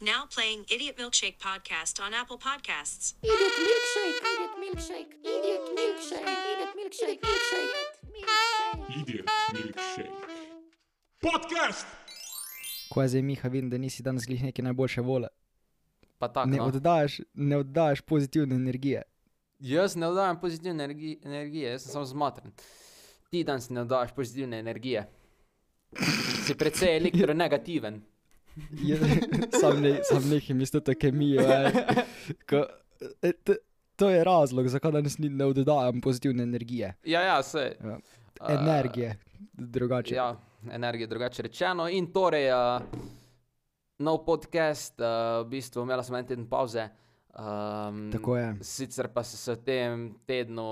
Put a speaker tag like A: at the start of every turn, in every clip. A: Now playing Idiot Milkshake Podcast on Apple Podcasts.
B: Idiot milkshake, idiot milkshake, idiot milkshake, idiot milkshake, milkshake, milkshake.
C: Idiot Milkshake. Podcast!
D: Ko zdaj, Miha, vidim, da nisi danes glih neke najboljše vole.
E: Pa tako.
D: Ne
E: No.
D: oddajaš, ne oddajaš pozitivne energije.
E: Jaz ne oddajam pozitivne energi energije, jaz sem samo zmatren. Ti danes ne oddajaš pozitivne energije. Si precej torej elektronegativen.
D: Je, sam ne, sam nekaj mislim, da kemijo. ej. Ko- e, t- To je razlog, zakaj danes ni, ne oddajam pozitivne energije.
E: Ja, ja, se.
D: Ja. Energije, drugače.
E: Ja, energije, drugače rečeno. In torej, uh, nov podcast, uh, v bistvu imela sem en teden pauze. Um,
D: Tako je.
E: Sicer pa so se v tem tednu,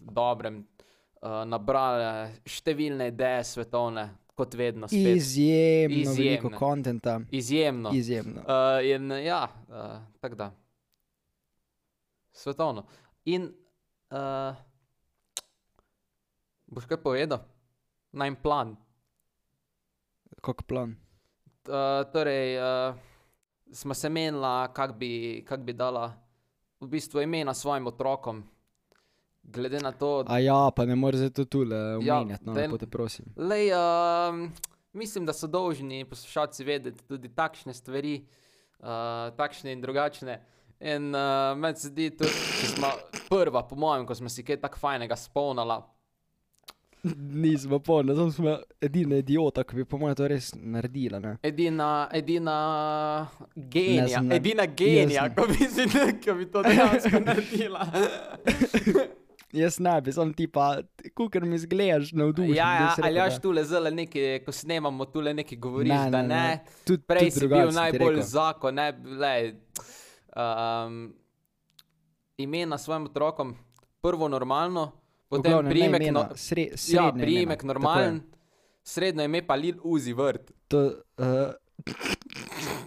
E: dobrem, uh, nabrale številne ideje svetovne, kot vedno. spet.
D: Izjemno, izjemno veliko
E: Izjemne.
D: kontenta.
E: Izjemno.
D: Izjemno.
E: Uh, in ja, uh, tako da. Svetovno. In uh, boš kaj povedal? Naj plan.
D: Kak plan.
E: Uh, torej, uh, smo se menila, kako bi, kak bi dala v bistvu imena svojim otrokom. Glede na to,
D: A ja, pa ne moreš zdaj to tule
E: Ja,
D: omenjati, no,
E: daj-
D: lepo te prosim.
E: Lej, um, mislim, da so dolžni poslušalci vedeti tudi takšne stvari, uh, takšne in drugačne. In uh, meni se zdi, tudi, če smo prva, po mojem, ko smo si kaj tako fajnega spomnila.
D: Nismo polni, tam smo edina idiota, ki bi po mojem to res naredila. Ne?
E: Edina, edina genija,
D: znam.
E: edina genija,
D: Jaz ne.
E: ko bi, si, ko bi to dejansko naredila.
D: Jaz ne bi, sem ti pa, kukar mi zgledaš na vdušen.
E: ja,
D: bi
E: ja,
D: jaz rekel,
E: ali jaš
D: da-
E: tule zelo nekaj, ko snemamo, tule nekaj govoriš, ne, da ne. ne.
D: Tudi
E: Prej
D: tudi
E: si
D: drugače
E: bil
D: ti
E: najbolj
D: rekel.
E: zakon, ne le. Um, imena svojim otrokom, prvo normalno,
D: V
E: potem
D: glavnem, ne
E: priimek,
D: imena,
E: no-
D: sre,
E: ja,
D: srednje imena,
E: priimek
D: tako je.
E: normalen, srednje ime pa Lil Uzi vrt.
D: To, uh,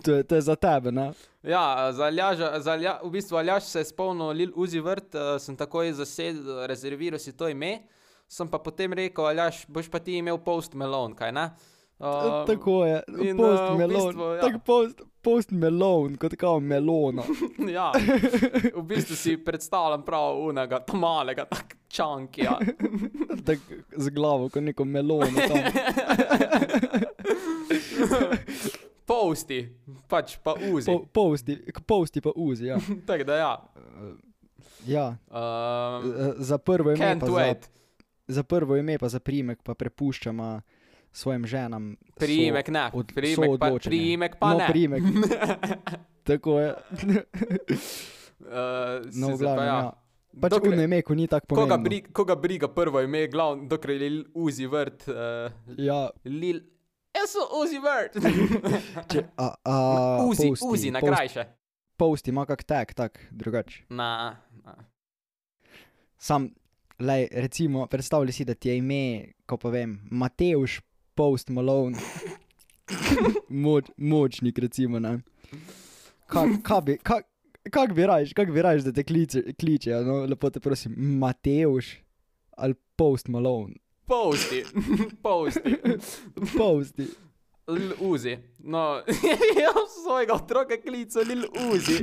D: to, je- to je za tebe, no. ne?
E: Ja, za Aljaža, za Alja, v bistvu Aljaš se je spomnil Lil Uzi vrt, uh, sem takoj zasedel, rezerviral si to ime, sem pa potem rekel, Aljaš, boš pa ti imel post Melon, kaj ne?
D: Um,
E: Uh,
D: tako je,
E: in,
D: post
E: eh, v
D: melon.
E: bistvu, ja.
D: Tako post, post melon, kot kao melona.
E: Ja, v bistvu si predstavljam prav unega, ta malega, tak čankija.
D: tak, z glavo, kot neko melono. Tam.
E: Posti, pač pa uzi.
D: Po, posti, k posti pa uzi, ja.
E: Tako da ja.
D: ja.
E: Um,
D: eh, Za prvo ime
E: can't
D: pa za
E: wait.
D: za prvo ime, pa za primek, pa prepuščamo svojim ženam. so-
E: Priimek ne,
D: od-
E: priimek pa,
D: soodločanje.
E: priimek pa
D: no,
E: ne.
D: Priimek. Tako je.
E: Uh,
D: No, v
E: sicer pa
D: glavnem, ja. Pač
E: Dokler-
D: Dokre... uno ime, ko ni tako
E: Koga,
D: pomembno.
E: bri, koga briga prvo ime, glavno, dokler je Lil Uzi vrt. Uh,
D: Ja,
E: Lil... Jaz sem Uzi vrt.
D: če, a, a,
E: Uzi,
D: posti,
E: Uzi, na
D: post-
E: kraj še.
D: Posti ima kak tak, tak, drugače.
E: Na, na.
D: Sam, lej, recimo, predstavljaj si, da ti je ime, ko pa vem, Mateuš Post Malone, Moč, močnik, recimo. ne. Kak, kak bi, kak, kak bi rajš, kak bi rajš, da te kliče, kličejo, no, lepo te prosim, Mateuš ali Post Malone,
E: Posti, posti.
D: Posti.
E: Lil Uzi. No, jaz sem svojega otroka klical Lil Uzi.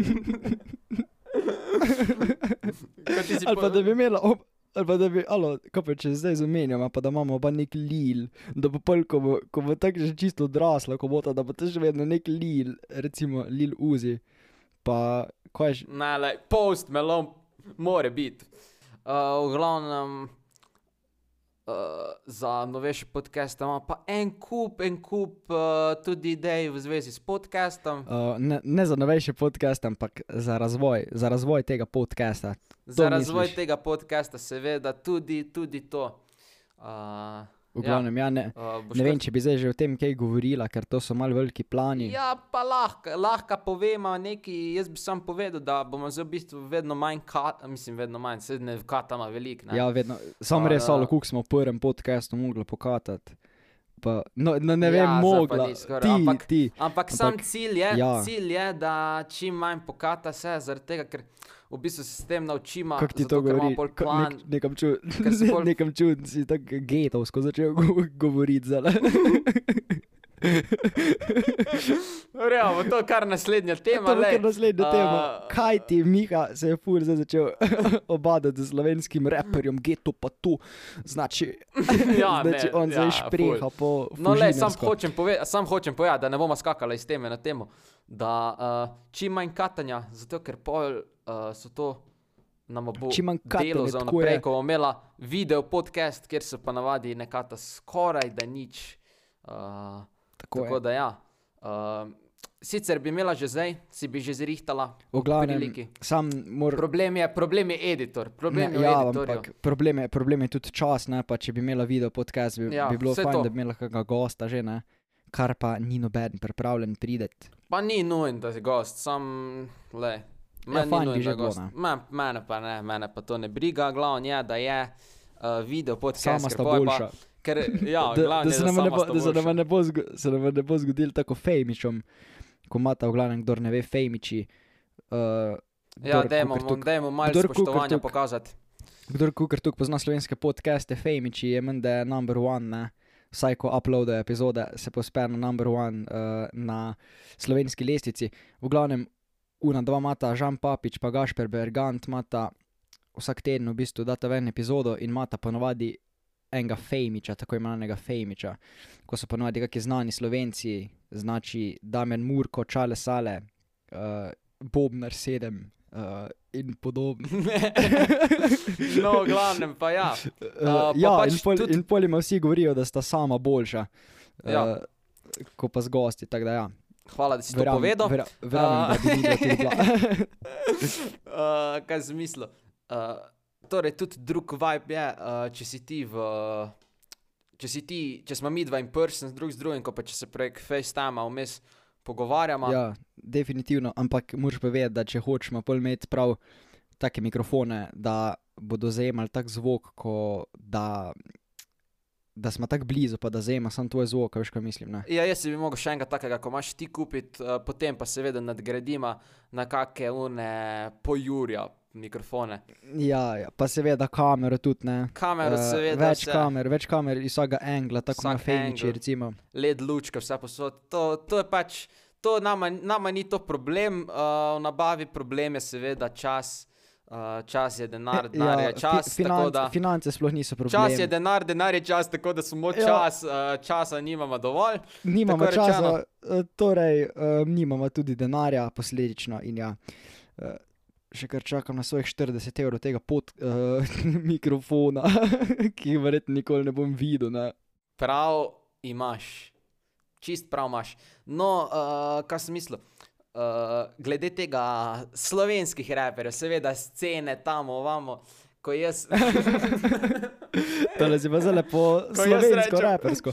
E: Kaj ti si
D: Ali pa
E: po-
D: da bi imela ob. Ali pa da bi, alo, kaj pa če zdaj zamenjamo, pa da imamo pa nek lil, da bo pol, ko bo, ko bo tako že čisto odrasla, ko bo ta, da bo to še vedno nek lil, recimo lil uzi, pa kaj že,
E: Ne, le, post melon, more biti. Uh, v glavnem, uh, za novejši podcast ima pa en kup, en kup uh, tudi idej v zvezi s podcastom.
D: uh, ne, ne za novejši podcast, ampak za razvoj, za razvoj tega podcasta.
E: Za razvoj
D: misliš?
E: tega podcasta, seveda, tudi, tudi to. Uh,
D: V glavnem, ja, ja ne,
E: uh, boš
D: ne
E: kaj
D: vem, če bi zdaj že o tem kaj govorila, ker to so mal veliki plani.
E: Ja, pa lahko, lahko povemo nekaj. Jaz bi sam povedal, da bomo zdaj v bistvu vedno manj kata, mislim, vedno manj, sedaj ne katama veliko. ne.
D: Ja, vedno. Sam
E: Pa,
D: res,
E: da-
D: ali kako smo v prvem podkastu mogli pokatati. Pa, no, no, ne vem,
E: Ja, zdaj pa
D: mogla.
E: ni skoraj,
D: Ti,
E: ampak-
D: ti.
E: Ampak sam
D: Ampak,
E: cilj je,
D: ja.
E: ja. cilj je, da čim manj pokata se, zaradi tega, ker v bistvu se s tem naučimo,
D: Kako ti to
E: zato, ker imamo
D: govori?
E: pol
D: Ka-
E: plan.
D: Nek, nekam čud-
E: ker si pol-
D: nekam čudno si tako getovsko začel go govoriti. zdajle.
E: Verjamemo, to je kar naslednja tema.
D: To je
E: lej.
D: kar naslednja
E: A,
D: tema. Kaj ti, Miha, se je fur zdaj začel obadati z slovenskim raperjem, geto pa tu. Znači,
E: Ja,
D: znači
E: ne,
D: on zdaj
E: ja,
D: špreha
E: ful.
D: po.
E: No, le, sam
D: fužinarsko.
E: hočem, pove, sam hočem povedati, da ne bomo skakali iz teme na temo, da uh, čim manj katanja, zato ker pol uh, so to nam bo
D: Čim manj katanja,
E: delo za
D: tako
E: naprej,
D: je.
E: ko bomo imela video podcast, kjer se pa navadi ne kata skoraj da nič. Uh,
D: Tako je.
E: tako da ja. Uh, sicer bi imela že zdaj, si bi že zrihtala.
D: V glavnem,
E: priliki.
D: sam moram.
E: Problem je, problem je editor, problem je v
D: ja,
E: editorju.
D: ampak problem je, problem je tudi čas, ne, pa če bi imela video podcast, bi,
E: Ja,
D: ja, bi bilo
E: saj
D: fajn,
E: to.
D: to. da bi imela kakega gosta že, ne, kar pa ni noben pripravljen prideti.
E: Pa ni nujen, da si gost, sam le.
D: Ja,
E: Meni
D: fajn
E: ni
D: bi
E: nujen,
D: že
E: da
D: bilo,
E: gost.
D: ne.
E: Ma- Mene pa ne, mene pa to ne briga, glavno je, da je uh, video podcast.
D: Sama
E: ker
D: sta
E: pol pa-
D: boljša.
E: Ker, ja,
D: Da,
E: glavno
D: da
E: je,
D: se nam ne
E: sama
D: bo,
E: sta
D: da se
E: boljša.
D: nam ne bo, zgo- se nam ne bo zgodil tako fejmičom, ko imata v glavnem, kdo ne ve, fejmiči. Uh,
E: Ja, dajmo, dajmo malo
D: Kdor kukar
E: spoštovanja
D: tuk.
E: pokazati.
D: Kdor kukar tu pozna slovenske podcaste, Fejmiči je menda je number one, ne? vsaj ko uploadajo epizode, se pospe na number one uh, na slovenski lestvici. V glavnem, una dva mata, Žan Papič pa Gašper Bergant, mata vsak teden v bistvu data ven epizodo in mata ponovadi enega Fejmiča, tako imenovanega Fejmiča, ko so ponovadi kakšni znani slovenci, znači Damjan Murko, Čale Sale, uh, Bobnar 7 uh, in podobno.
E: No, v glavnem pa ja.
D: Uh,
E: pa
D: ja,
E: pač
D: pač in, pol,
E: tudi-
D: tudi... in pol jim vsi govorijo, da sta sama boljša,
E: Ja.
D: uh, ko pa z gosti. tako Da, ja.
E: Hvala, da si to
D: Verjamem-
E: povedal.
D: vera- Verjamem, da bi videla tudi bila.
E: Uh, kaj zmislo. Uh, torej, tudi drug vibe je, uh, če si ti v. Če, si ti, če smo mi dva in prsten, drug z drugim, ko pa če se prek FaceTima vmes pogovarjamo.
D: ja, definitivno, ampak moraš pa vedeti, da če hočemo pol imeti prav take mikrofone, da bodo zajemali tak zvok, ko, da, da smo tako blizu, pa da zajema samo tvoj zvok, a veš, kaj mislim. Ne?
E: Ja, jaz bi mogel še enega takega, ko imaš ti kupiti, uh, potem pa seveda nadgradima na kakšne une pojurja mikrofone.
D: Ja, ja, pa seveda kamero tudi ne.
E: Kamero
D: Eh,
E: seveda
D: več
E: vse.
D: kamer, več kamer iz vsakega angla, tako na
E: Vsak
D: fejniči,
E: angle.
D: recimo.
E: led lučke, vse posod. To, to je pač, to nama, nama ni to problem, uh, v nabavi problem je seveda čas, uh, čas je denar, denar
D: E,
E: je
D: Ja, fi-
E: čas. tako
D: financ,
E: da,
D: finance sploh niso problem.
E: čas je denar, denar je čas, tako da smo
D: Ja.
E: čas, uh, časa nimamo dovolj.
D: nimamo
E: tako rečeno.
D: časa, eh, torej um, nimamo tudi denarja, posledično. In ja, eh, še kar čakam na svojih 40 evrov tega pod, uh, mikrofona, ki ga verjetno nikoli ne bom videl. Ne?
E: Prav imaš, čist prav imaš. No, uh, kaj sem mislil? Uh, glede tega slovenskih raperjev, seveda scene tam, ovamo, ko jaz.
D: Tole si pa zelo lepo
E: jaz
D: slovensko,
E: rečem-
D: rapersko.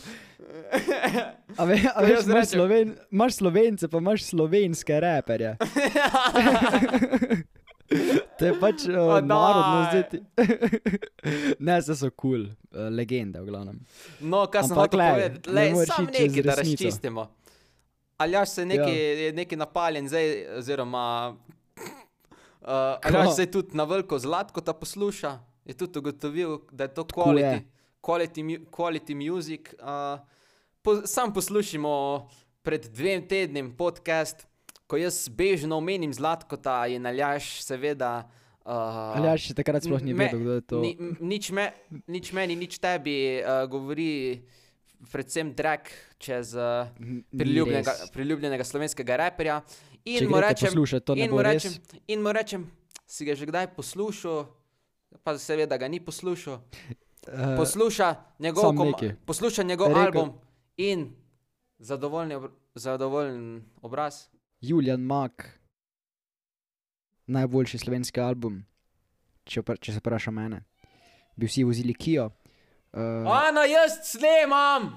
D: A, ve, a
E: Ko
D: veš,
E: jaz
D: imaš,
E: rečem-
D: sloven, imaš slovence, pa imaš slovenske raperje. To je pač uh,
E: O,
D: narodno
E: daj.
D: zdeti. ne, se so kul, cool, uh, legende v glavnem.
E: No, kaj sem
D: Ampak
E: hotel
D: glej,
E: povedati,
D: ne
E: le
D: moreš
E: sam
D: iti čez
E: nekaj, da
D: resnico. Ja.
E: razčistimo. Aljaš se neki, je neki napaljen zdaj, oziroma uh, Aljaš
D: Ko?
E: se je tudi na veliko zlatko ta posluša, je tudi ugotovil, da je to
D: Tako je.
E: quality, quality, mu- quality music. Uh, po, sam poslušimo pred dvem tednom podcast, ko jaz bežno omenim zlatkota in Aljaš seveda. Uh,
D: Ali ja, še takrat sploh ni
E: Me-
D: vedel, kdo je to.
E: Ni, m- nič, me, nič meni, nič tebi uh, govori, predvsem drag čez uh,
D: N- ni
E: priljubljenega,
D: res.
E: priljubljenega slovenskega raperja.
D: Če
E: In mu
D: greste
E: rečem,
D: poslušat, to ne
E: in
D: bo
E: mu
D: res.
E: rečem, in mu rečem, si ga že kdaj poslušal, pa seveda ga ni poslušal.
D: Eh,
E: Posluša njegov,
D: sam
E: kom,
D: nekaj.
E: posluša njegov
D: Rekel-
E: album in zadovoljni obr zadovoljen obraz.
D: Julian Mak, najboljši slovenski album, če, vpra- če se vpraša mene. Bi vsi vozili Kijo. Uh,
E: Ana, jaz snemam!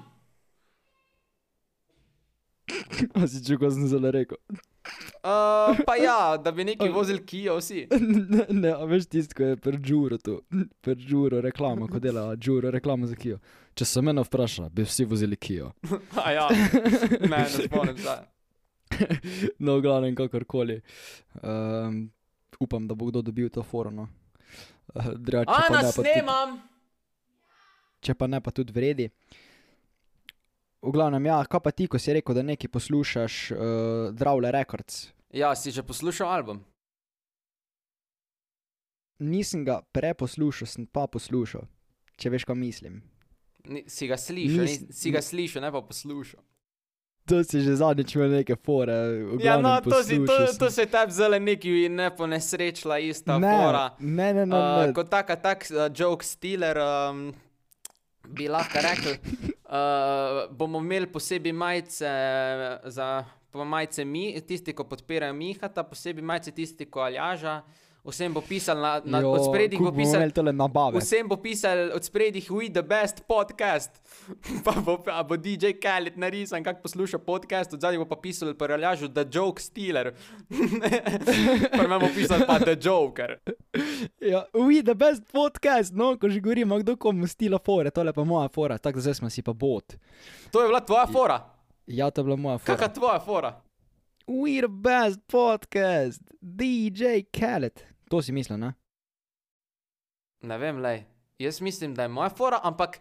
D: a si če ko sem zelo rekel.
E: Uh, pa ja, da bi neki vozili Kijo vsi.
D: ne, ne, a veš tisto, ko je perdžuro tu, perdžuro reklamo, ko dela džuro reklamo za Kijo. Če se mene vpraša, bi vsi vozili Kijo.
E: A ja, ne, ne spomnim se.
D: No, v glavnem, kakorkoli. Um, upam, da bo kdo dobil to no. forono. Uh, Drače,
E: Ana, snemam!
D: če pa ne, pa tudi vredi. v glavnem, ja, kaj pa ti, ko si rekel, da nekaj poslušaš, uh, Dravle Records.
E: Ja, si že poslušal album?
D: Nisem ga preposlušal, sem pa poslušal, če veš, kaj mislim.
E: Ni, si ga slišal,
D: Nis-
E: ni, si ga slišal, ne pa poslušal.
D: To si že zadnjič imel neke fore. v
E: Ja,
D: glavnem,
E: no, to, si, to,
D: poslušal sem.
E: to se je tebi zelo neki ne ponesrečila ista
D: ne,
E: fora.
D: ne, ne, ne,
E: Uh,
D: ne.
E: kot taka, tak uh, joke stealer, um, bi lahko rekel, uh, bomo imeli posebej majice eh, za pa majice mi, tisti, ki podpirajo Mihata, posebej majice tisti, ki aljaža. Vsem bo pisal na, na
D: Jo,
E: odspredju,
D: kako
E: bo
D: bomo
E: pisal.
D: imeli tole nabave.
E: Vsem bo pisal od spredjih We the Best podcast, pa bo, pa bo DJ Khaled narisan, kako posluša podcast, od zadnji bo pa pisal paraljažu The Joke Stealer. Prvo bo pisal pa The Joker.
D: Ja, we the best podcast, no, ko že govorimo, kdo komu stila fore, tole pa moja fora, tako da zdaj smo si pa bot.
E: To je bila tvoja fora.
D: Ja, to je bila moja fora.
E: Kakšna tvoja fora?
D: We the best podcast, DJ Khaled. To si mislil, ne?
E: Ne vem, le. Jaz mislim, da je moja fora, ampak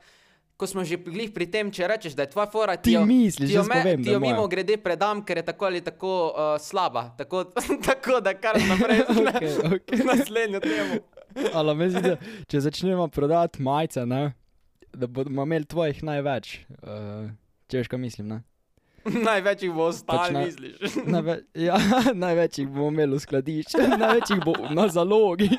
E: ko smo že glih pri tem, če rečeš, da je tvoja fora,
D: Ti
E: jo,
D: misliš,
E: ti jo,
D: jaz pa vem,
E: ti
D: da je
E: jo
D: moja.
E: mimo grede predam, ker je tako ali tako uh, slaba. Tako, tako da kar naprej
D: Okej, okej.
E: naslednjo temo.
D: Ali me zdi, da če začnemo prodati majice, ne? Da bomo imeli tvojih največ. Uh, če veš, kaj mislim, ne?
E: Največ jih bo ostalo,
D: Pač
E: Počna...
D: naj-
E: misliš.
D: Najve ja, največ jih bomo imeli v skladišču, največ jih bo na zalogi.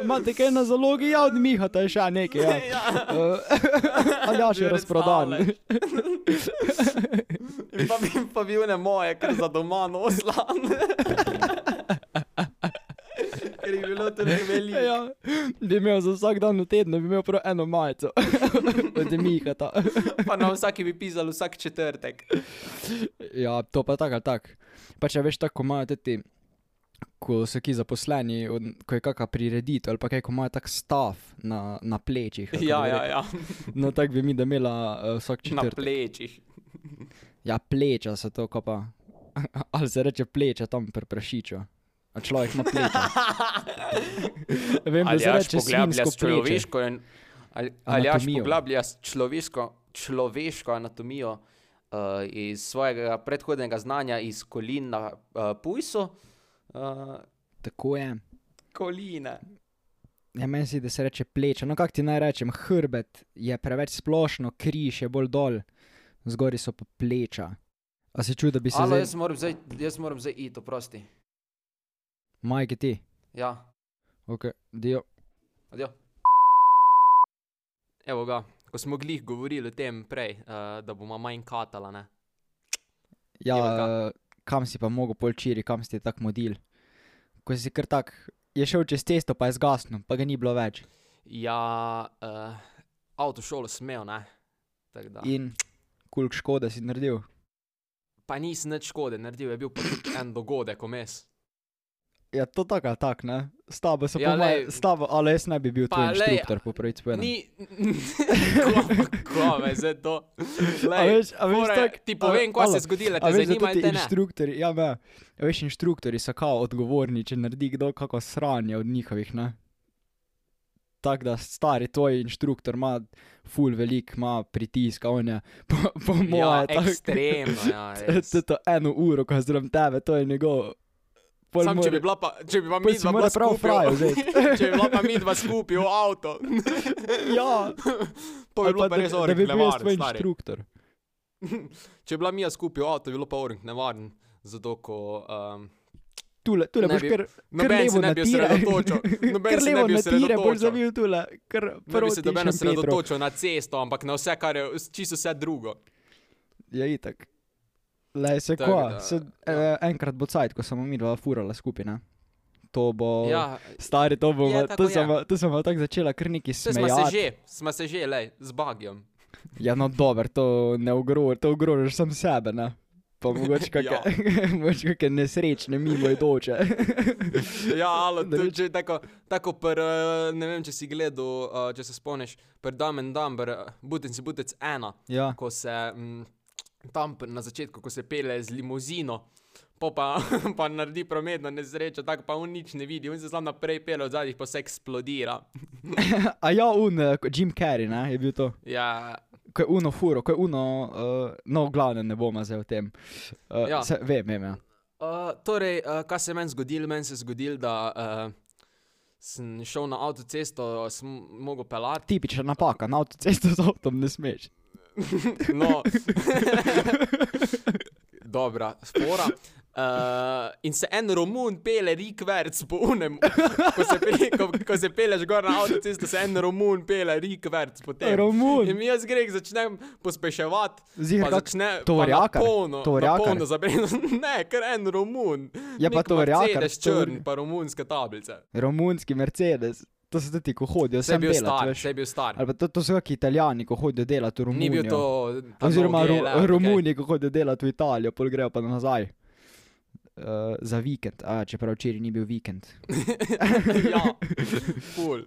D: Imate kaj na zalogi, ja, od Miha, to je še nekaj. Ja. Uh, ali ja, še
E: Že
D: razprodan.
E: razstavljaš. In pa bi, pa bi une moje, ker za doma noslam. ker je bilo tudi veliko.
D: Ja, bi imel za vsak dan v tednu, bi imel prav eno majico od Miha.
E: Pa na vsaki bi pisal vsak četrtek.
D: Ja, to pa tako ali tako. Pa če veš, tako ko imajo tudi, ko so ki zaposleni, od, ko je kakšna prireditev ali pa kaj, ko imajo tak stav na, na plečih. ali kako
E: Ja,
D: bi
E: ja,
D: rekel.
E: ja.
D: No, tako bi mi da imela uh, vsak
E: Na
D: četrtek.
E: plečih.
D: ja, pleča se to, ko pa. Ali se reče pleča tam pri prašiču. A človek ima pleča. Vem, da se reče svinjsko plečo.
E: in ali, ali jaš
D: Anatomijo.
E: poglablja s človeško, človeško anatomijo uh, iz svojega predhodnega znanja iz kolin na uh, pujsu. Uh,
D: Tako je.
E: koline.
D: Ja, meni se zdi, da se reče pleča. No, kako ti naj rečem, hrbet je preveč splošno, križ je bolj dol, zgori so pa pleča. A se čudi, da bi se
E: Alo,
D: zdaj...
E: jaz moram zdaj, jaz moram zdaj iti, oprosti.
D: Majki ti,
E: Ja,
D: ok, dio.
E: adijo. Evo ga, ko smo glih govorili o tem prej, uh, da bomo manj katala, ne?
D: Ja,
E: Evo ga.
D: eh, kam si pa mogel polčiri, kam si ti tako modil? Ko si kar tak, je šel čez cesto, pa je zgasnil, pa ga ni bilo več.
E: Ja, uh, avtošolo smel, ne? Tako da.
D: In koliko škode si naredil.
E: Pa nisem nič škode naredil, je bil pa tudi en dogodek vmes.
D: Ja, to tako, ali tako, ne? S tabo se
E: Ja,
D: ja,
E: lej.
D: pomaga, s tabo, ali jaz ne bi bil
E: Pa,
D: tvoj
E: lej,
D: inštruktor, po pravici povedano.
E: Ni, ko, ko me zdaj to.
D: A
E: Lej,
D: veš, a veš,
E: fora je,
D: tak,
E: ti povem, kaj se je zgodilo, te zanima, ali te ne.
D: Inštruktori, ja, me, a veš, inštruktori so kao odgovorni, če naredi kdo kako sranje od njihovih, ne? Tako da stari tvoj inštruktor ima ful velik, ima pritisk, a on je po, po
E: Ja,
D: moje tako-
E: ekstremno, ja. res.
D: To to eno uro, ko je zraven tebe, to je njegov. Pol
E: Sam, če
D: mora-
E: bi bila pa, če bi pa
D: pol
E: mi
D: si
E: dva
D: mora
E: bila
D: prav frajo
E: skupaj,
D: vzeti.
E: če bi bila pa mi dva skupaj v avto,
D: Ja,
E: to bi
D: ali
E: bilo
D: pa
E: pa
D: da-
E: res
D: Da
E: oreng
D: bi bil jaz tvoj
E: nevaren. stari.
D: inštruktor.
E: Če bi bila mi skupaj v avto, bi bilo pa oreng nevaren, zato ko... Um,
D: Tule, tule
E: Ne
D: boš
E: bi-
D: kar, kar
E: Noben se
D: levo
E: ne bi
D: natira.
E: osredotočil. Noben
D: Kar
E: se ne
D: levo
E: bi
D: natira, boš
E: osredotočil.
D: zavil tule. Kar
E: Ne bi se
D: proti
E: doben
D: Šempetru.
E: osredotočil na cesto, ampak na vse, kar je, čisto vse drugo.
D: Ja, itak. Le, se
E: Tako
D: kva,
E: da,
D: se,
E: ja.
D: ja. enkrat bo cajt, ko smo mi dva furala skupina. To bo...
E: Ja,
D: Stari, to bomo,
E: Je, tako
D: tu
E: je.
D: sem, tu sem tako začela kar neki
E: saj sva se
D: smejati.
E: že, sva se že, lej, z bagjem.
D: Ja, no dober, to ne ogrožaš, to ogrožaš sam sebe, ne? Pa mogoče
E: Ja.
D: kakšne, mogoče kakšne nesrečne mimoidoče.
E: Ja, ali
D: Da
E: to
D: vidiš-
E: je tako, tako pr, eh, ne vem, če si gledal, eh, če se spomniš, pr Dumb and Dumber, eh, Butec in Butec ena,
D: ja,
E: ko se, mm, tam pr- na začetku, ko se pele z limuzino, po pa, pa naredi prometno nesrečo, tako pa on nič ne vidi, on se sam naprej pele od zadnjih, pa se eksplodira.
D: A ja, un, eh, ko- Jim Carrey, ne, je bil to.
E: Ja,
D: Ko je uno furo, ko je uno, uh, no, glavno ne bomo zdaj o tem. Uh,
E: Ja.
D: ja. se, vem, vem, ja.
E: Uh, torej, uh, kaj se je meni zgodilo? Meni se je zgodilo, da uh, sem šel na avtocesto, sem mogel pelati.
D: Tipična napaka, na avtocesto z avtom ne smeš.
E: No, dobra, spora. Uh, in se en Romun pele rikverc po unem. Ko se, pe, ko, ko se peleš gor na avtocesto, se en Romun pele rikverc po tem.
D: Romun.
E: In jaz greh začnem pospeševati.
D: Ziher
E: pa
D: kak
E: začne
D: tovornjakar,
E: Polno,
D: tovornjakar.
E: polno zabreno. Ne, ker en Romun.
D: Je pa
E: Nek
D: tovornjakar,
E: Mercedes
D: tovor-
E: črn, pa romunske tablice.
D: Romunski Mercedes, to so tudi, ko hodijo
E: Vse je
D: sem
E: bil
D: delat,
E: star,
D: veš.
E: vse je bil star.
D: Ali pa to, to so kakšni italijani, ko hodijo delat v Romunijo.
E: Ni bil to. ja, ta
D: Oziroma,
E: mnogi,
D: Ru
E: le, ampak
D: Romuni, ko hodijo delati v Italijo, pol grejo pa nazaj. Uh, za vikend, a, čeprav včeraj ni bil vikend.
E: ej, Ja, ful.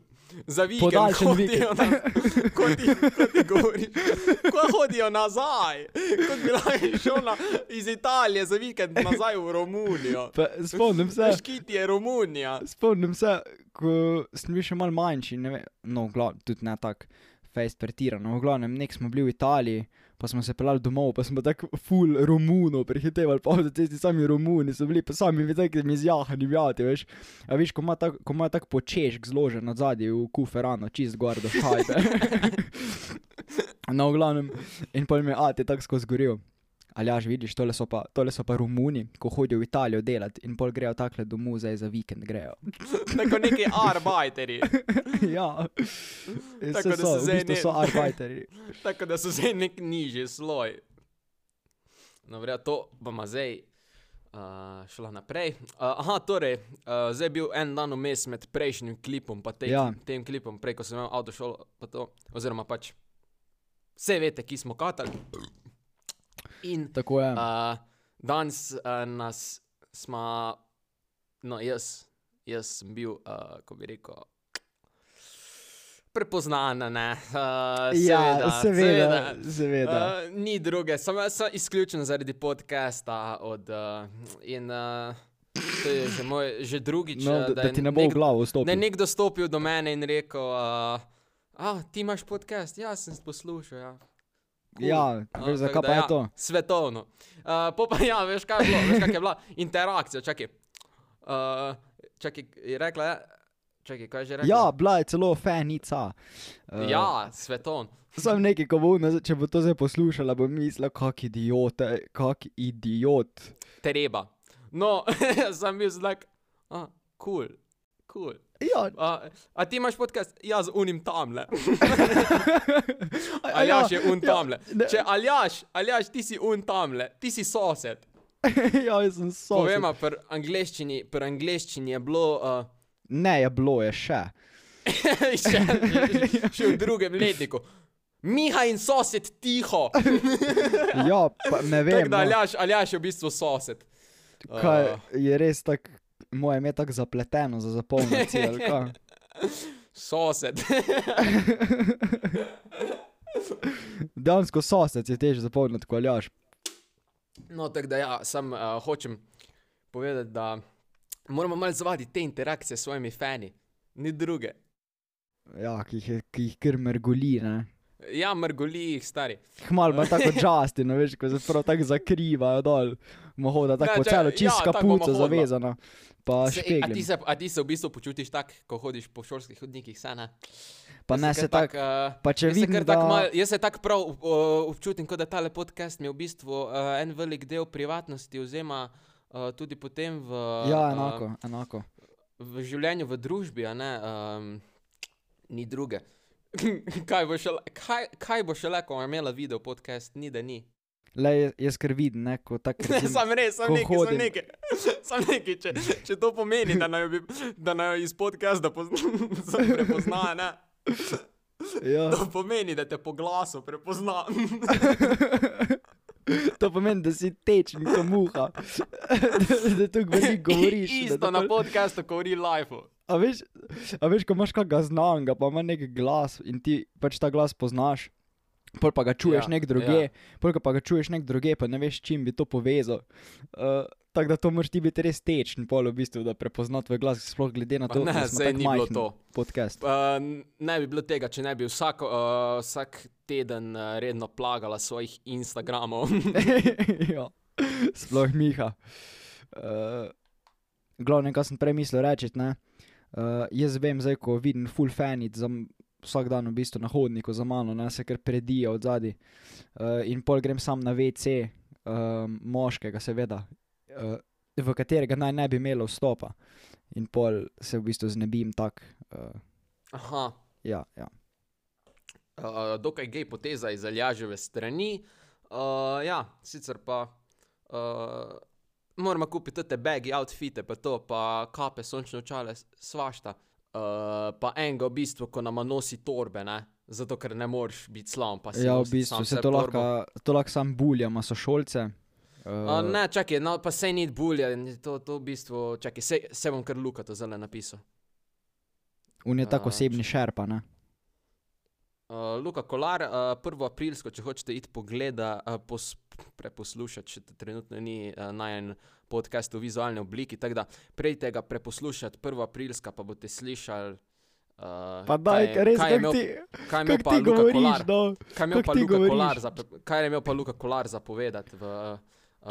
E: Za vikend
D: Podaljšan
E: hodijo
D: vikend.
E: na, kot ti, kot ti govoriš, ko hodijo nazaj, kot bi lahko šel na, iz Italije za vikend nazaj v Romunijo.
D: Pa Spomnim se,
E: Škiti je Romunija.
D: spomnim se, ko sem bil še mal manjši, ne vem, no, glav, tudi ne tako fejst pretirano. V glavnem, nek smo bili v Italiji, pa smo se pelali domov, pa smo tako full Romunov prehitevali, pa so tisti sami Romuni, so bili pa sami v takem izjahanju, vjati, veš. A veš, ko ima tako tak počešk zložen od zadaj v kuferano, čist gor do šajbe. no, v glavnem, in pa mi je ati tako skozi goril. Ali ja, že vidiš, tole so, pa, tole so pa Romuni, ko hodijo v Italijo delati in pol grejo takole domov, zdaj za vikend grejo.
E: Tako neki arbajteri.
D: ja,
E: Tako
D: Saj
E: da
D: so,
E: se
D: v
E: zdaj
D: bistvu
E: ne-
D: so arbajteri.
E: Tako da so zdaj nek nižji sloj. No, verja, to bomo zdaj uh, šla naprej. Uh, aha, torej, uh, zdaj je bil en dan vmes med prejšnjim klipom in
D: Ja.
E: ja. tem klipom, prej ko sem imel avtošolo, pa to, oziroma pač vse veste, ki smo katali. In
D: Tako je.
E: uh, danes uh, nas smo, no jaz, jaz sem bil, uh, ko bi rekel. Prepoznana, ne. Uh, seveda,
D: ja, seveda, seveda. seveda.
E: Uh, ni druge, samo sem izključen zaradi podcasta. Od, uh, in, uh, to je že, moj, že drugič,
D: no,
E: eh,
D: da, da,
E: je
D: ti ne bo v
E: nekdo-
D: glavo
E: Da
D: stopil.
E: je nekdo stopil do mene in rekel: uh, A, ti imaš podcast, ja, sem poslušal. Ja. Cool.
D: Ja,
E: No,
D: veš,
E: tako
D: zakaj
E: da
D: pa je
E: ja,
D: to?
E: Svetovno. Uh, po pa ja, veš, kaj je bilo, veš, kak je bila interakcija, čakaj. Uh, čakaj, je rekla, ja, čakaj, kaj je že rekla?
D: Ja, bila je celo fenica. Eh,
E: ja svetovno.
D: Sam nekaj, ko bo, ona- če bo to zdaj poslušala, bo mislila, kak idiot, eh, kak idiot.
E: treba. No, sem bil zlak, a, kul, kul.
D: Ja,
E: A, a ti imaš podcast? Ja, z unim tamle.
D: a- a
E: Aljaš je un tamle.
D: ja, ne.
E: Če Aljaš, Aljaš, ti si un tamle, ti si sosed.
D: ja, jaz sem sosed.
E: Povema, pri angleščini, pri angleščini je bilo uh,
D: Ne, je bilo je še.
E: še, še, še v drugem letniku. Miha in sosed tiho.
D: Ja, pa, ne vem,
E: Tako da
D: no,
E: Aljaš, Aljaš je v bistvu sosed.
D: kaj
E: Eh,
D: je res tako, moje ime je tako zapleteno za zapolniti.
E: sosed.
D: Dejansko sosed je težje zapolniti, ko ljaš.
E: No, tako da ja, sam uh, hočem povedati, da moramo malo zvaditi te interakcije s svojimi fani, ni druge.
D: Ja, ki jih, je- ki jih kar mrgoli, ne.
E: Ja, mrgoli jih stari.
D: Hmal ima tako Justin, no, veš, ko se prav tako zakrivajo dol. Mohoda tako
E: Ne, če-
D: celo čist
E: ja, tako
D: kapuco
E: mohodno.
D: zavezana. Pa
E: Se, ej, a, ti
D: špegli.
E: se, a ti se v bistvu počutiš tako, ko hodiš po šolskih hodnikih, sana?
D: Pa ne se tako.
E: eh,
D: pa če
E: jaz se
D: vidim,
E: kar tako
D: da-
E: malo- Jaz se tako prav uh, občutim, kot da tale podcast mi v bistvu uh, en velik del privatnosti vzema uh, tudi potem v,
D: Ja,
E: eh,
D: enako, enako.
E: v življenju, v družbi, a ne, um, ni druge. kaj bo šele, kaj, kaj bo šele, ko bom imela video podcast, ni da ni.
D: Le, jaz kar vidim, ne, ko tako. recimo-
E: Sam res, sem
D: ko
E: neki, sem
D: hodim.
E: neki, sem neki, če, če to pomeni, da naj, bi, da naj jo iz podcasta pozna- sem prepozna, ne.
D: Ja.
E: To pomeni, da te po glasu prepozna.
D: To pomeni, da si tečen, kot muha. da da tu veliko govoriš. da,
E: Isto
D: da,
E: na
D: pol-
E: podkastu, ko govori life.
D: A veš, a veš, ko imaš kakega znanga, pa ima nek glas in ti pač ta glas poznaš. Pol pa ga čuješ
E: Ja,
D: ja, nek druge, ja. pol ko pa ga čuješ nek druge, pa ne veš, čim bi to povezal. Uh, tako da to moraš ti biti res tečen, pol v bistvu, da prepoznati tvoj glas, sploh glede na
E: Pa
D: to,
E: ne,
D: da smo
E: saj
D: tako
E: ni bilo
D: majhen
E: to.
D: Podcast.
E: Uh, ne bi bilo tega, če ne bi vsako, uh, vsak teden uh, redno plagala svojih Instagramov.
D: ja, sploh Miha. Uh, glavno, kar sem prej mislil reči, ne. Uh, jaz vem, zdaj, ko vidim full fanit za m- vsak dan v bistvu na hodniku za mano, ne se kar predija od zadaj. Uh, in pol grem sam na WC, uh, moškega, seveda, uh, v katerega naj ne bi imelo vstopa. In pol se v bistvu znebim tak. Uh,
E: Aha.
D: ja, ja.
E: Uh, dokaj gej poteza iz Aljaževe strani. Uh, ja, sicer pa uh, moramo kupiti te bagi, outfite, pa to, pa kape, sončne očale, s- svašta. Uh, pa enega v bistvu, ko nama nosi torbe, ne? zato ker ne moreš biti slam. pa si
D: ja, v
E: nosi
D: bistvu
E: sam
D: se
E: sebi
D: to
E: torbo.
D: lahko, to lahko sam buljama sošolce. Uh,
E: Uh, ne, čakaj, no, pa sej ni bulja, to, to v bistvu, čakaj, se, se bom kar Luka to zdaj napisal.
D: On je tako
E: A,
D: osebni šerpa, ne?
E: Uh, Luka Kolar, uh, prvo aprilsko, če hočete iti pogleda, uh, pos, preposlušati, če te trenutno ni uh, najen podcast v vizualni obliki, tako da pridite ga preposlušati, prvo aprilska pa boste slišali. Uh,
D: Pa daj,
E: kaj je-
D: res,
E: kaj je
D: kako
E: imel-
D: ti,
E: kaj je imel
D: kak
E: pa
D: ti
E: Luka
D: govoriš,
E: Kolar?
D: no?
E: Kaj je imel
D: kako
E: pa
D: ti
E: Luka
D: govoriš?
E: Kolar za, kaj je imel pa Luka Kolar za povedati v uh,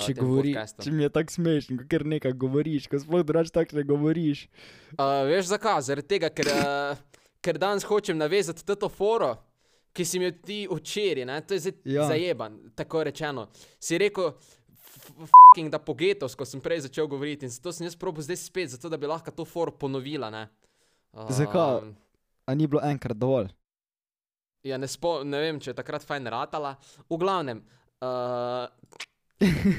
D: Če
E: tem
D: govoriš,
E: podcastu?
D: če mi je tako smešno, ko ker nekaj govoriš, ko sploh drugače tako ne govoriš.
E: Uh, veš zakaj? Zaradi tega, ker, uh, ker danes hočem navezati to foro, ki si mi jo ti včeraj, ne? to je zdaj ja.
D: Ja.
E: zajeban, tako rečeno. Si rekel, fucking da pogetos, ko sem prej začel govoriti in zato sem jaz probo zdaj spet, zato da bi lahko to foro ponovila. ne. Um,
D: Zakaj? A ni bilo enkrat dovolj.
E: Ja, ne, spo, ne vem, če je takrat fajn ratala. V glavnem, uh,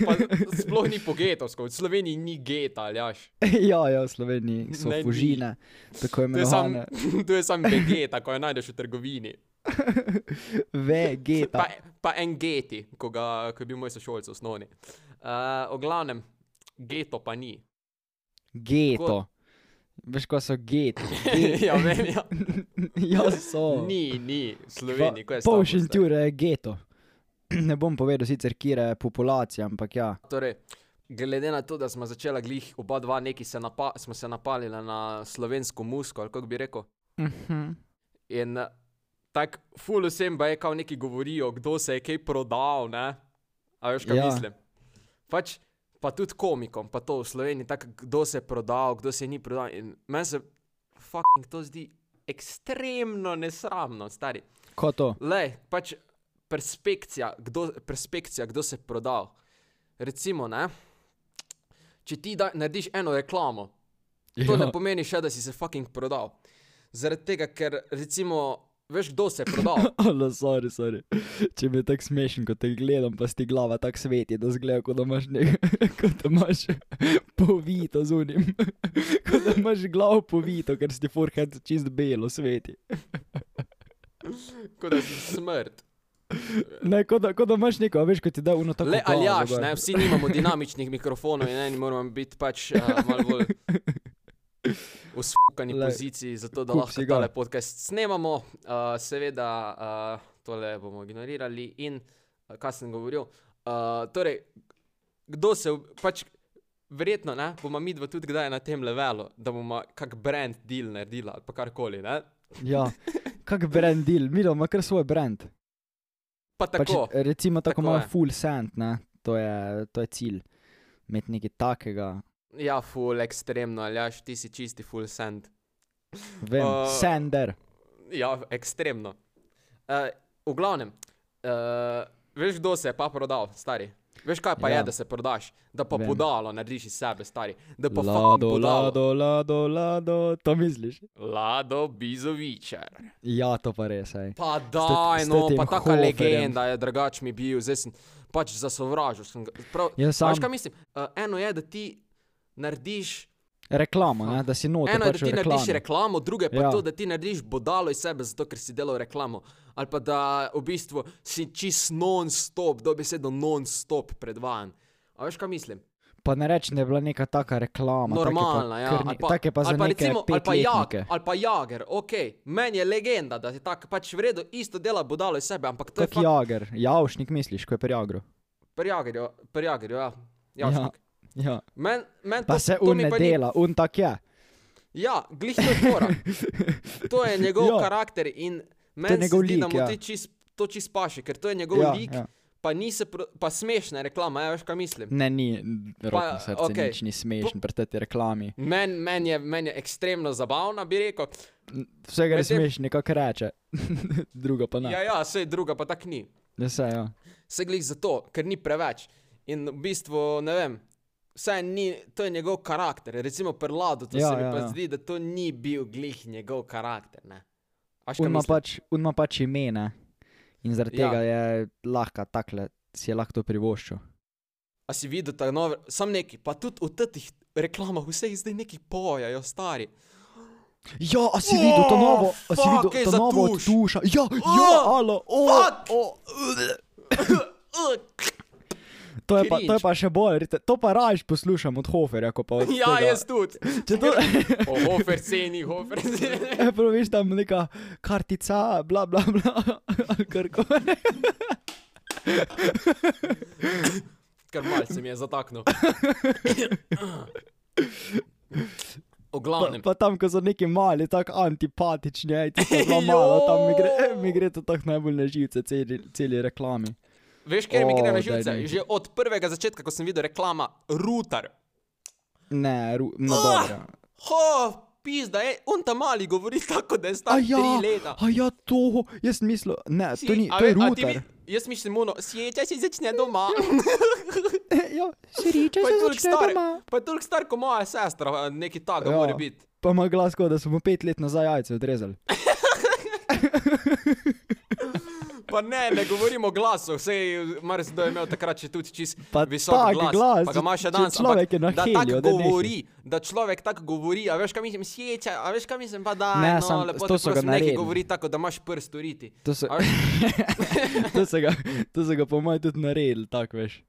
E: pa sploh ni pogetovsko, v Sloveniji ni geta, aljaš.
D: ja, ja, v Sloveniji so
E: Ne, ni.
D: fužine, tako
E: To je sam,
D: imenovane.
E: to je sam vegeta, ko jo najdeš v trgovini.
D: Vegeta.
E: Pa, pa en geti, ko, ga, ko je bil moj sošolc v osnovni. Uh, o glavnem, geto pa ni.
D: Geto. Veš, ko so geti.
E: ja, vem, ja.
D: ja, so.
E: Ni, ni, v Sloveniji, ko
D: Pol
E: je s tabo zdaj?
D: šentjure je geto. Ne bom povedal sicer, kje je populacija, ampak ja.
E: Torej, glede na to, da smo začela glih oba dva neki se, napa smo se napalila na slovensko musko, ali kako bi rekel.
D: Uh
E: Mhm.
D: -huh.
E: In eh, tako ful vsem pa je, kao neki govorijo, kdo se je kaj prodal, ne? A veš, kaj ja.
D: Ja.
E: mislim. Pač, pa tudi komikom, pa to v Sloveniji, tako kdo se je prodal, kdo se ni prodal. In meni se fucking to zdi ekstremno nesramno, stari.
D: Ko to?
E: Le, pač perspekcija, kdo, perspekcija, kdo se je prodal. Recimo, ne? Če ti da, narediš eno reklamo,
D: Ja.
E: To ne pomeni še, da si se fucking prodal. Zaradi tega, ker recimo, veš, kdo se je prodal.
D: Ala, sorry, sorry. Če mi je tako smešen, ko te gledam, pa si ti glava tako sveti, da zgleda, kot da imaš, ne, kot da imaš povito z unim. kot da imaš glavo povito, ker si ti forehead čist belo sveti.
E: Kot da si smrt.
D: Ne, kot da, kot da imaš neko, a veš, kot ti da uno tako.
E: Le
D: glavo
E: aljaš,
D: gor.
E: ne, vsi nimamo dinamičnih mikrofonov in eni moramo biti pač uh, malo bolj v spokani
D: Lej,
E: poziciji, zato da
D: kup
E: lahko
D: si ga.
E: tale podcast snemamo. Uh, seveda, uh, tole bomo ignorirali in uh, kaj sem govoril. Uh, torej, kdo se, v- pač, verjetno, ne, bomo mi dva tudi kdaj na tem levelu, da bomo kak brand deal naredila ali pa karkoli, ne.
D: Ja, kak brand deal, mi imamo kar svoj brand.
E: Pa tako.
D: Pač, recimo tako,
E: tako
D: tako
E: je.
D: imajo full sand, ne, to je, to je cilj. Imeti nekaj takega,
E: Ja, full ekstremno, aljaš, ti si čisti full sand.
D: vem,
E: Uh,
D: uh, sender.
E: Ja, ekstremno. Uh, v glavnem, uh, veš, kdo se je pa prodal, stari. Veš, kaj pa ja.
D: Ja.
E: je, da se prodaš, da pa Vem.
D: Vem.
E: podalo narediš iz sebe, stari. Da pa fucking
D: Lado,
E: podalo. Lado.
D: lado, lado, lado, to misliš?
E: Lado Bizovičar.
D: Ja, to pa res je.
E: Pa daj,
D: s
E: no,
D: tem
E: pa taka
D: Hoferjem.
E: legenda je drugač mi bil, zdaj sem pač zasovražil. Sem ga, prav,
D: Jaz
E: a
D: Ja, sam
E: Veš, kaj mislim? Uh, eno je, da ti narediš
D: reklamo, ne, da si noter.
E: Eno je, da
D: pač
E: ti
D: v
E: narediš
D: reklami.
E: reklamo, drugo je pa ja.
D: Ja.
E: to, da ti narediš bodalo iz sebe, zato ker si delal reklamo. Ali pa da v bistvu si čist non-stop, dobesedno non-stop predvajan. A veš, kaj mislim?
D: Pa ne rečem, da je bila neka taka reklama.
E: Normalna, ja. ali pa-
D: Tako je pa za
E: ali pa
D: neke
E: recimo, ali pa, jag,
D: petletnike.
E: ali pa Jager, ok, meni je legenda, da je tako pač v redu, isto dela bo dalo iz sebe, ampak to je
D: Kot Ja- jager, javšnik misliš, ko je pri jagru.
E: pri Jagerju, pri Jagerju, ja. Javšnik.
D: Ja.
E: Men, men
D: Pa
E: to,
D: se
E: to
D: un
E: mi
D: ne
E: pa ni-
D: dela, un tak je.
E: Ja, glih to je fora. To je njegov
D: Ja.
E: karakter in meni se
D: njegov
E: zdi, da
D: lik,
E: mu
D: ja.
E: ti čist, to čist paši, ker to je njegov
D: Ja,
E: lik,
D: ja.
E: pa, ni se pro, pa smešna reklama, ja, veš kaj mislim.
D: Ne, ni, n- roko na srce,
E: okej.
D: okay. nič ni smešen pri tej reklami.
E: Meni men je, men je ekstremno zabavna, bi rekel.
D: Vsega je
E: Medtem-
D: smešno, nekako reče, drugo pa ne.
E: Ja, ja, vse druga pa tak ni.
D: Ja, se, ja.
E: Se glih zato, ker ni preveč. In v bistvu, ne vem, vse ni, to je njegov karakter. Recimo prelado, to ja,
D: Ja,
E: se mi ja,
D: ja,
E: pa ja.
D: ja.
E: zdi, da to ni bil glih njegov karakter. Ne? Aš
D: Un
E: kaj
D: ima
E: mislim?
D: pač, un ima pač imena in zaradi
E: Ja.
D: ja. tega je lahko takle, si je lahko to privoščil.
E: A si videl ta nove, sam neki, pa tudi v teh reklamah vseh zdaj neki pojajo, stari.
D: Ja, a si
E: O,
D: videl to novo, a si
E: Oh, fuck,
D: videl
E: kaj
D: to
E: za
D: novo od
E: tuš.
D: tuša. Ja, ja,
E: O,
D: alo, o,
E: fuck.
D: o.
E: Ugh.
D: To je, pa, to je
E: cringe.
D: pa še bolj, rite- to pa raje poslušam od Hoferja, kot pa od
E: ja,
D: tega.
E: jaz tudi.
D: Če to
E: O, hofer ceni, hofer ceni.
D: praviš tam neka kartica, bla bla bla, ali karkoli.
E: Kar malce mi je zataknil. O
D: Pa,
E: glavnem.
D: pa tam, ko so neki mali, tako antipatični, aj ti pa malo, tam mi gre, mi gre to tako najbolj na živce, celi, celi reklami.
E: Veš, kjer mi
D: O,
E: gre na
D: daj
E: živce?
D: nehaj.
E: Že od prvega začetka, ko sem videl reklama, rutar.
D: Ne, ru, no
E: Ah,
D: dobro.
E: Ho, pizda, je, on ta mali govori tako, da je
D: A
E: star
D: ja,
E: tri leta.
D: a ja, to, jaz mislim, ne, to ni,
E: a
D: to je
E: ve- a ti
D: ruter.
E: mi- Jaz mislim, ono, sjeća si začne doma.
D: Ja, sriča
E: pa je toliko
D: začne
E: star,
D: doma.
E: pa je toliko star, kot moja sestra, neki tako ja.
D: Ja.
E: mora biti.
D: Pa ima glas, kot da smo pet let nazaj jajce odrezali.
E: Pa ne, ne govorimo o glasu, vse mar se da je imel takrat še tudi čist
D: Pa
E: visok
D: tak
E: glas,
D: glas,
E: pa ga ima še
D: če
E: danes.
D: človek je na
E: ampak da
D: helju,
E: tako
D: da nehaj.
E: govori, da človek tako govori, a veš kaj mislim, sjeća, a veš kaj mislim, pa da,
D: Ne,
E: no,
D: sam-
E: lepo
D: to
E: te
D: so ga
E: prosim, nekaj
D: naredili.
E: govori tako, da imaš prst uriti.
D: To so,
E: A veš,
D: to so ga, to so ga po mojem tudi naredili, tako veš.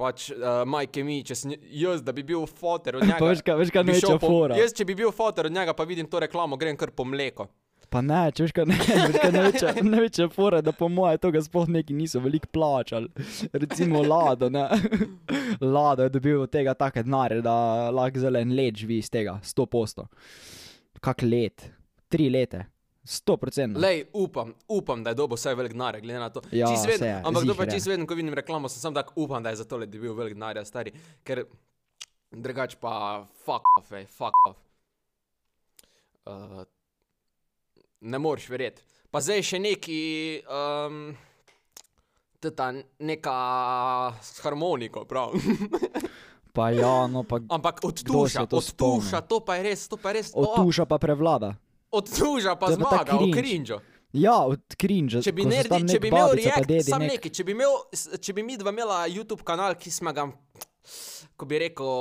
E: pač, uh, majke mi, če sem jaz, da bi bil foter od njega.
D: Pa veš, kaj, veš, kaj
E: Ja, bi šel
D: neče
E: po-
D: fora.
E: Jaz, če bi bil foter od njega, pa vidim to reklamo, grem kar po mleko.
D: Pa ne, če veš, kaj ne, veš, kaj največja, največja fora, da po moje tega sploh neki niso veliko plačali. Recimo Lado, ne. Lado je dobil od tega take denarje, da lahko zelen let živi iz tega, 100%. Kak let? Tri lete. 100%.
E: Lej, upam, upam, da je dobo vsaj velik denar, glede na to.
D: No. Ja,
E: Čisto vedno,
D: saj je,
E: ampak to pa
D: ziher je.
E: čisto vedno, ko vidim reklamo, sem sam tako upam, da je za tole dobil velik denar, ja, stari. Ker drugač pa fuck off, ej, fuck off. Uh, ne moreš verjeti. Pa zdaj je še neki, um, teta neka s harmoniko, prav.
D: Pa ja, no pa
E: ampak od
D: Kdo se
E: tuša,
D: to
E: od tuša,
D: spomni?
E: to pa je res, to pa je res. o,
D: otuša pa prevlada.
E: od tuša pa
D: To je pa ta
E: zmaga, v
D: cringe.
E: krinžu.
D: Ja, od cringe.
E: Če bi,
D: ko so tam
E: nerdi, če
D: nek
E: bi imel
D: babica pa
E: reakt,
D: dedi
E: sam
D: nek-
E: neki, če bi, imel, s- če bi mi dva imela YouTube kanal, ki smo ga, ko bi rekel,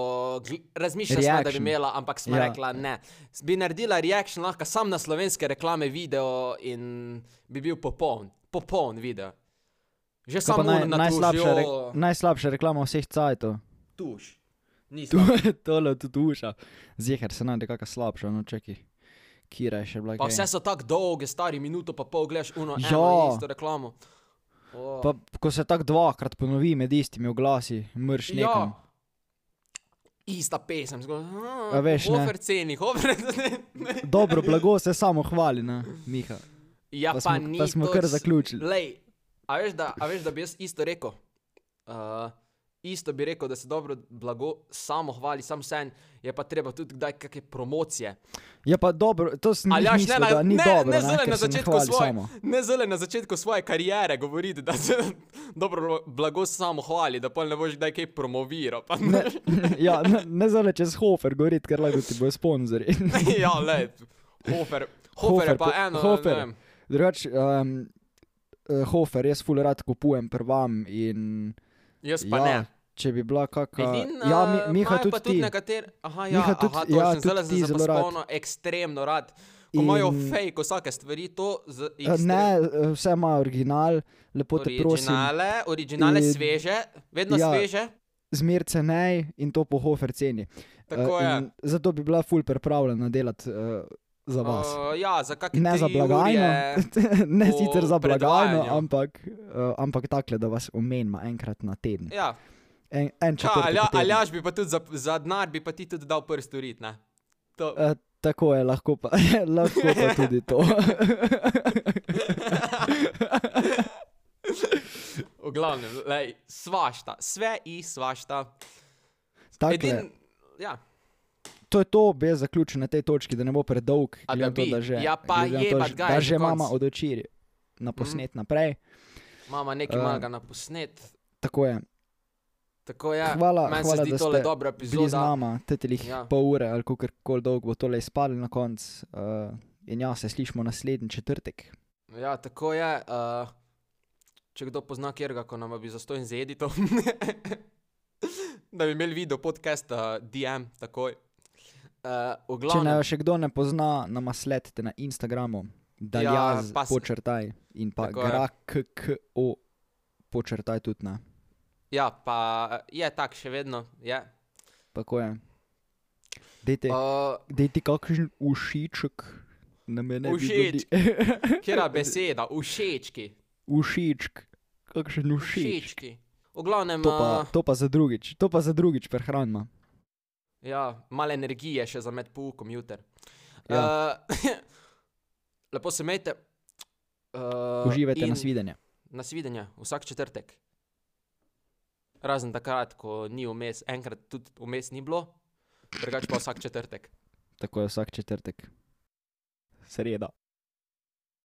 E: gl- razmišljala sva, da bi
D: Reaction.
E: imela, ampak smo ja.
D: Ja.
E: rekla ne. S- Bi naredila reaction lahko sam na slovenske reklame video in bi bil popoln, popoln video. Že
D: Kaj pa
E: samo
D: naj,
E: na
D: najslabša, re,
E: tužjo-
D: najslabša reklama vseh cajtov.
E: tuš. Ni
D: Tu,
E: slabo.
D: tole tudi uša. Zihar se najde kakšna slabša, no čeki. Kira je še bila.
E: Pa
D: kaj.
E: vse so tako dolge, stari minuto pa pol gledaš uno
D: Ja.
E: eno in isto reklamo. O.
D: Pa, ko se tako dvakrat ponovi med istimi oglasi, mrš nekam.
E: Ja. Ista pesem, zgolj. "Hm,
D: A veš, ne.
E: Hofer ceni, hofer ceni.
D: Dobro, blago se samo hvali, ne, Miha.
E: Ja,
D: Pa
E: pa
D: smo-
E: ni.
D: pa smo
E: to
D: kar
E: c-
D: zaključili.
E: Lej, a veš, da, a veš, da bi jaz isto rekel? Uh, isto bi rekel, da se dobro blago samo hvali, sam sen, je pa treba tudi kdaj kakšne promocije.
D: Ja, pa dobro, to sem
E: Ali
D: jih
E: jaš,
D: mislil,
E: ne,
D: da
E: ne,
D: ni
E: ne,
D: dobro,
E: ne
D: ne,
E: zele
D: ker
E: na
D: se ne
E: začetku
D: hvali
E: svoje,
D: samo.
E: ne zele na začetku svoje karijere govoriti, da se dobro blago samo hvali, da pol ne boš kdaj kaj promoviral. pa-
D: Ne, ja, ne, ne zale čez hofer, gorit, ker lahko ti bojo sponzorji.
E: ja, le, hofer. Hofer je pa
D: ko-
E: eno, hofer.
D: Hofer.
E: ne vem.
D: Drugač, um, hofer, jaz ful rad kupujem prvam in...
E: Jaz pa
D: ja,
E: ja. ne.
D: Če bi bila kakšna...
E: Edin,
D: Ja,
E: eh,
D: mi, Miha,
E: imajo
D: tudi
E: pa
D: ti.
E: tudi nekateri, aha, ja,
D: Miha,
E: Miha,
D: tudi-
E: aha,
D: ja,
E: točno,
D: tudi
E: zdaj
D: ti
E: sem se
D: zelo rad.
E: spomnil, ekstremno rad. Ko imajo
D: In-
E: fake vsake stvari, to z
D: Eh, Ne, eh, vse ima original, lepo te prosim.
E: originale, originale
D: In-
E: sveže, vedno ja.
D: ja.
E: sveže.
D: zmer cenej in to po hofer ceni.
E: Tako
D: Eh,
E: je.
D: in Zato bi bila ful pripravljena delati uh, za vas. Uh,
E: Uh, ja, za kakšne
D: ne
E: tri
D: za blagajno,
E: urje.
D: ne
E: po
D: sicer za blagajno,
E: predvajanju.
D: ampak, uh, ampak takole, da vas omenimo enkrat na teden.
E: Ja,
D: En, en
E: ja
D: četrtek.
E: alja,
D: v tednu.
E: aljaš bi pa tudi za, za denar, bi pa ti tudi dal prst urit, ne? To,
D: Eh, Tako je, lahko pa, lahko pa tudi to.
E: v glavnem, lej, svašta, sve i svašta.
D: Takle,
E: Edin, ja,
D: to je to, bi jaz zaključil na tej točki, da ne bo predolg.
E: A
D: glede na to,
E: da bi?
D: da že,
E: Ja, pa
D: glede na to,
E: jebat
D: že-
E: ga je
D: da
E: že Mhm.
D: že
E: konc.
D: mama od očiri na posnet naprej.
E: mama nekaj
D: Eh.
E: uh, malega na posnet.
D: Tako je.
E: Tako je,
D: Hvala,
E: meni
D: hvala,
E: se
D: da
E: zdi tole
D: ste
E: dobra
D: Bili z
E: epizoda.
D: nama, tetelih ja.
E: Ja.
D: pol ure ali kako dolgo bo tole izpadlo na koncu. Uh, in ja, se slišmo naslednji četrtek.
E: Ja, tako je. Uh, če kdo pozna kjerga, ko nam bi zastojn zedi to, da bi imeli video podcast, uh, DM, takoj. Uh, v
D: Če ne,
E: glavnem,
D: še kdo ne pozna, nama sledite na Instagramu, da
E: Ja,
D: ja,
E: pa s-
D: počrtaj in pa
E: Tako je.
D: grakko počrtaj tudi na.
E: ja, pa eh, je tak še vedno, je.
D: Tako je. Dejte,
E: Uh,
D: dejte kakšen ušiček na mene. bi
E: Všeč.
D: dodali.
E: Kjera beseda, všečki.
D: ušičk, kakšen ušičk.
E: Všečki. V glavnem,
D: To pa,
E: uh,
D: to pa za drugič, to pa za drugič prehranima.
E: ja, malo energije še za med poukom jutr.
D: Ja.
E: Uh, lepo se imejte. Uh,
D: Uživajte Eh, in...
E: in-
D: nas videnje.
E: Nasvidenja vsak četrtek. Razen takrat, ko ni vmes, enkrat tudi vmes ni bilo, drugače pa vsak četrtek.
D: Tako je vsak četrtek. Sreda.